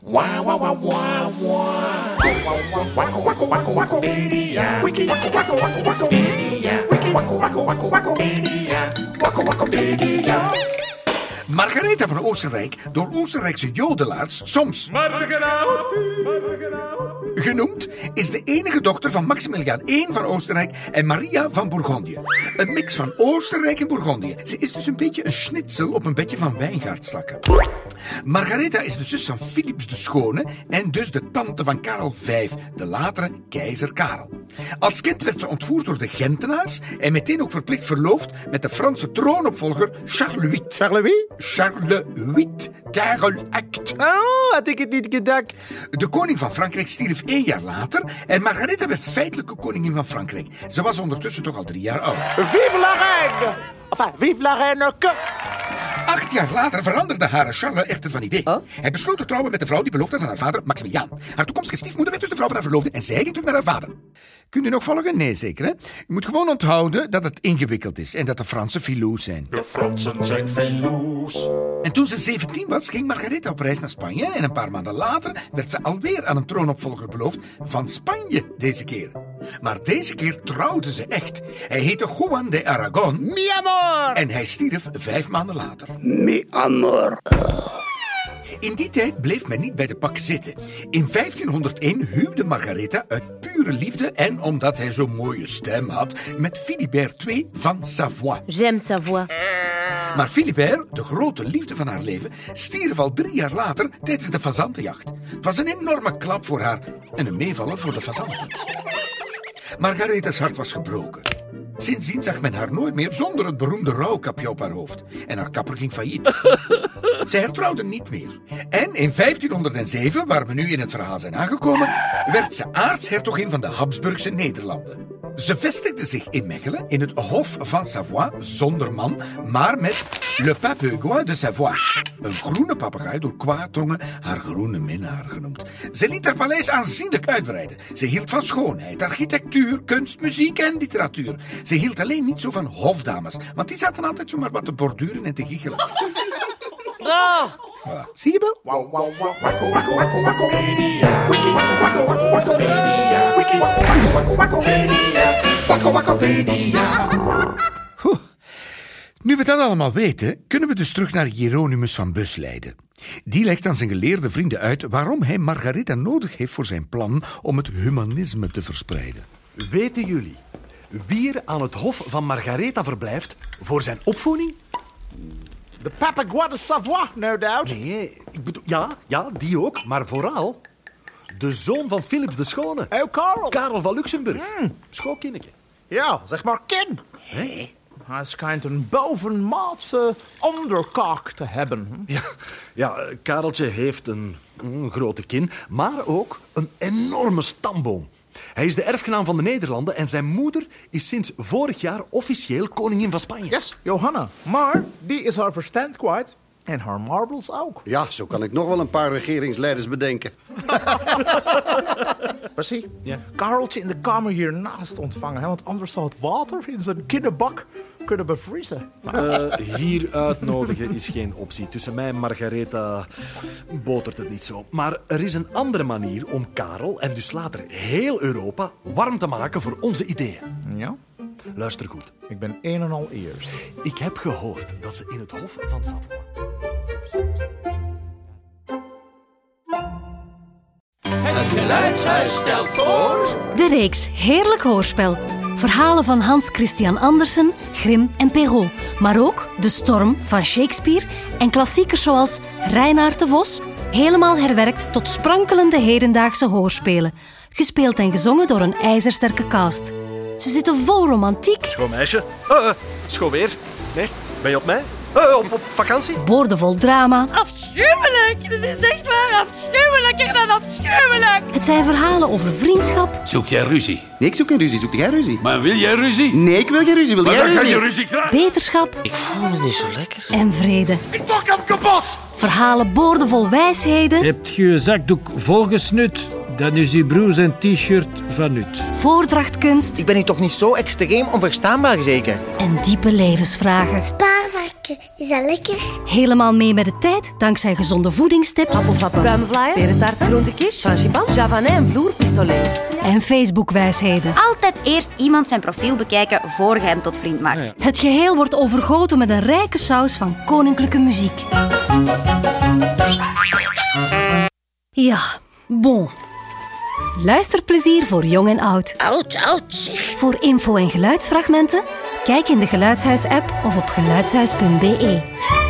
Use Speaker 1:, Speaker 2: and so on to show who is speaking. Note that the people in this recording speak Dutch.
Speaker 1: Wah wah wah wah wah. Wacko wacko wacko wacko media. Wiki wacko wacko wacko wacko media. Wiki wacko wacko wacko wacko media. Wacko wacko media.
Speaker 2: Margaretha van Oostenrijk, door Oostenrijkse jodelaars soms genoemd, is de enige dochter van Maximiliaan I van Oostenrijk en Maria van Bourgondië. Een mix van Oostenrijk en Bourgondië. Ze is dus een beetje een schnitzel op een bedje van wijngaardslakken. Margaretha is de zus van Philips de Schone en dus de tante van Karel V, de latere keizer Karel. Als kind werd ze ontvoerd door de Gentenaars en meteen ook verplicht verloofd met de Franse troonopvolger Charles VIII.
Speaker 3: Charles wie?
Speaker 2: Charles VIII, Karel Act.
Speaker 3: Oh, had ik het niet gedacht.
Speaker 2: De koning van Frankrijk stierf één jaar later en Margaretha werd feitelijke koningin van Frankrijk. Ze was ondertussen toch al drie jaar oud.
Speaker 3: Vive la reine! Enfin, vive la reine que...
Speaker 2: Acht jaar later veranderde haar Charles echter van idee. Hij besloot te trouwen met de vrouw die beloofd was aan haar vader, Maximiliaan. Haar toekomstige stiefmoeder werd dus de vrouw van haar verloofde en zij ging terug naar haar vader. Kunt u nog volgen? Nee, zeker hè? U moet gewoon onthouden dat het ingewikkeld is en dat de Fransen filoos zijn.
Speaker 1: De Fransen zijn veloos.
Speaker 2: En toen ze 17 was, ging Margaretha op reis naar Spanje. En een paar maanden later werd ze alweer aan een troonopvolger beloofd. Van Spanje deze keer. Maar deze keer trouwde ze echt. Hij heette Juan de Aragon.
Speaker 3: Mi amor!
Speaker 2: En hij stierf vijf maanden later.
Speaker 3: Mi amor.
Speaker 2: In die tijd bleef men niet bij de pak zitten. In 1501 huwde Margaretha uit pure liefde en omdat hij zo'n mooie stem had met Philibert II van Savoie.
Speaker 4: J'aime sa voix.
Speaker 2: Maar Philibert, de grote liefde van haar leven, stierf al drie jaar later tijdens de fazantenjacht. Het was een enorme klap voor haar en een meevaller voor de fazanten. Margaretha's hart was gebroken. Sindsdien zag men haar nooit meer zonder het beroemde rouwkapje op haar hoofd. En haar kapper ging failliet. Zij hertrouwde niet meer. En in 1507, waar we nu in het verhaal zijn aangekomen, werd ze aartshertogin van de Habsburgse Nederlanden. Ze vestigde zich in Mechelen in het Hof van Savoie zonder man, maar met Le Papegoi de Savoie. Een groene papegaai door kwaadtongen haar groene minnaar genoemd. Ze liet haar paleis aanzienlijk uitbreiden. Ze hield van schoonheid, architectuur, kunst, muziek en literatuur. Ze hield alleen niet zo van hofdames, want die zaten altijd zomaar wat te borduren en te giechelen. Voilà. Zie je wel?
Speaker 1: Wah wah wah. Wacko wacko wacko wacko media. Wiki wacko wacko wacko wacko media. Wiki wacko wacko wacko wacko media. Wacko wacko media.
Speaker 2: Oeh. Nu we dat allemaal weten, kunnen we dus terug naar Hieronymus van Bus leiden. Die legt aan zijn geleerde vrienden uit waarom hij Margaretha nodig heeft voor zijn plan om het humanisme te verspreiden.
Speaker 5: Weten jullie wie er aan het hof van Margaretha verblijft voor zijn opvoeding?
Speaker 3: The Papagua de Savoie, no doubt.
Speaker 5: Nee, ik bedoel, ja, ja, die ook, maar vooral de zoon van Philips de Schone.
Speaker 3: Oh, Karel. Hmm.
Speaker 5: Karel van Luxemburg. Schoolkindje.
Speaker 3: ja, zeg maar Ken. Hé? Hij schijnt een bovenmaatse onderkaak te hebben.
Speaker 5: Ja, ja, eh, Kareltje heeft een, mm, grote kin, maar ook een enorme stamboom. Hij is de erfgenaam van de Nederlanden en zijn moeder is sinds vorig jaar officieel koningin van Spanje.
Speaker 3: Yes, Johanna. Maar die is haar verstand kwijt. En haar marbles ook.
Speaker 6: Ja, zo kan ik nog wel een paar regeringsleiders bedenken.
Speaker 3: Precies. Kareltje in de kamer hiernaast ontvangen. Hè? Want anders zou het water in zijn kinderbak kunnen bevriezen.
Speaker 5: Eh, hier uitnodigen is geen optie. Tussen mij en Margaretha botert het niet zo. Maar er is een andere manier om Karel en dus later heel Europa warm te maken voor onze ideeën.
Speaker 3: Ja?
Speaker 5: Luister goed.
Speaker 3: Ik ben een en al eers.
Speaker 5: Ik heb gehoord dat ze in het Hof van Savoie.
Speaker 4: De reeks Heerlijk Hoorspel. Verhalen van Hans Christian Andersen, Grimm en Perrault. Maar ook De Storm van Shakespeare en klassiekers zoals Reinaard de Vos. Helemaal herwerkt tot sprankelende hedendaagse hoorspelen. Gespeeld en gezongen door een ijzersterke cast. Ze zitten vol romantiek,
Speaker 7: Schoon meisje. Eh, eh, schoon weer. Nee, ben je op mij? Eh, op, op vakantie?
Speaker 4: boordevol drama.
Speaker 8: Afschuwelijk! Dit is echt waar afschuwelijker dan afschuwelijk!
Speaker 4: Het zijn verhalen over vriendschap,
Speaker 9: Zoek jij ruzie?
Speaker 6: Nee, ik zoek geen ruzie. Zoek jij ruzie?
Speaker 9: Maar wil jij ruzie?
Speaker 6: Nee, ik wil geen ruzie. Wil
Speaker 9: Maar
Speaker 6: jij
Speaker 9: dan kan
Speaker 6: ruzie?
Speaker 9: je ruzie krijgen.
Speaker 4: beterschap. Ik voel me niet zo lekker. En vrede.
Speaker 9: Ik pak hem kapot!
Speaker 4: Verhalen boordevol wijsheden.
Speaker 10: Hebt je je zakdoek volgesnut?
Speaker 9: Dan is uw broer zijn t-shirt van nut.
Speaker 4: voordrachtkunst
Speaker 10: Ik ben hier toch niet zo extreem onverstaanbaar, zeker?
Speaker 4: en diepe levensvragen.
Speaker 1: Spaarvarken, is dat lekker?
Speaker 4: Helemaal mee met de tijd dankzij gezonde voedingstips
Speaker 8: Appelflappen, pruimenvlaaien, perentaarten, groentekies, frangipan, javanet en vloerpistolets.
Speaker 4: en Facebookwijsheden.
Speaker 11: Altijd eerst iemand zijn profiel bekijken voor je hem tot vriend maakt.
Speaker 4: Het geheel wordt overgoten met een rijke saus van koninklijke muziek. Ja, bon. Luisterplezier voor jong en oud.
Speaker 11: Oud, oud, zeg.
Speaker 4: Voor info en geluidsfragmenten, kijk in de Geluidshuis-app of op geluidshuis.be.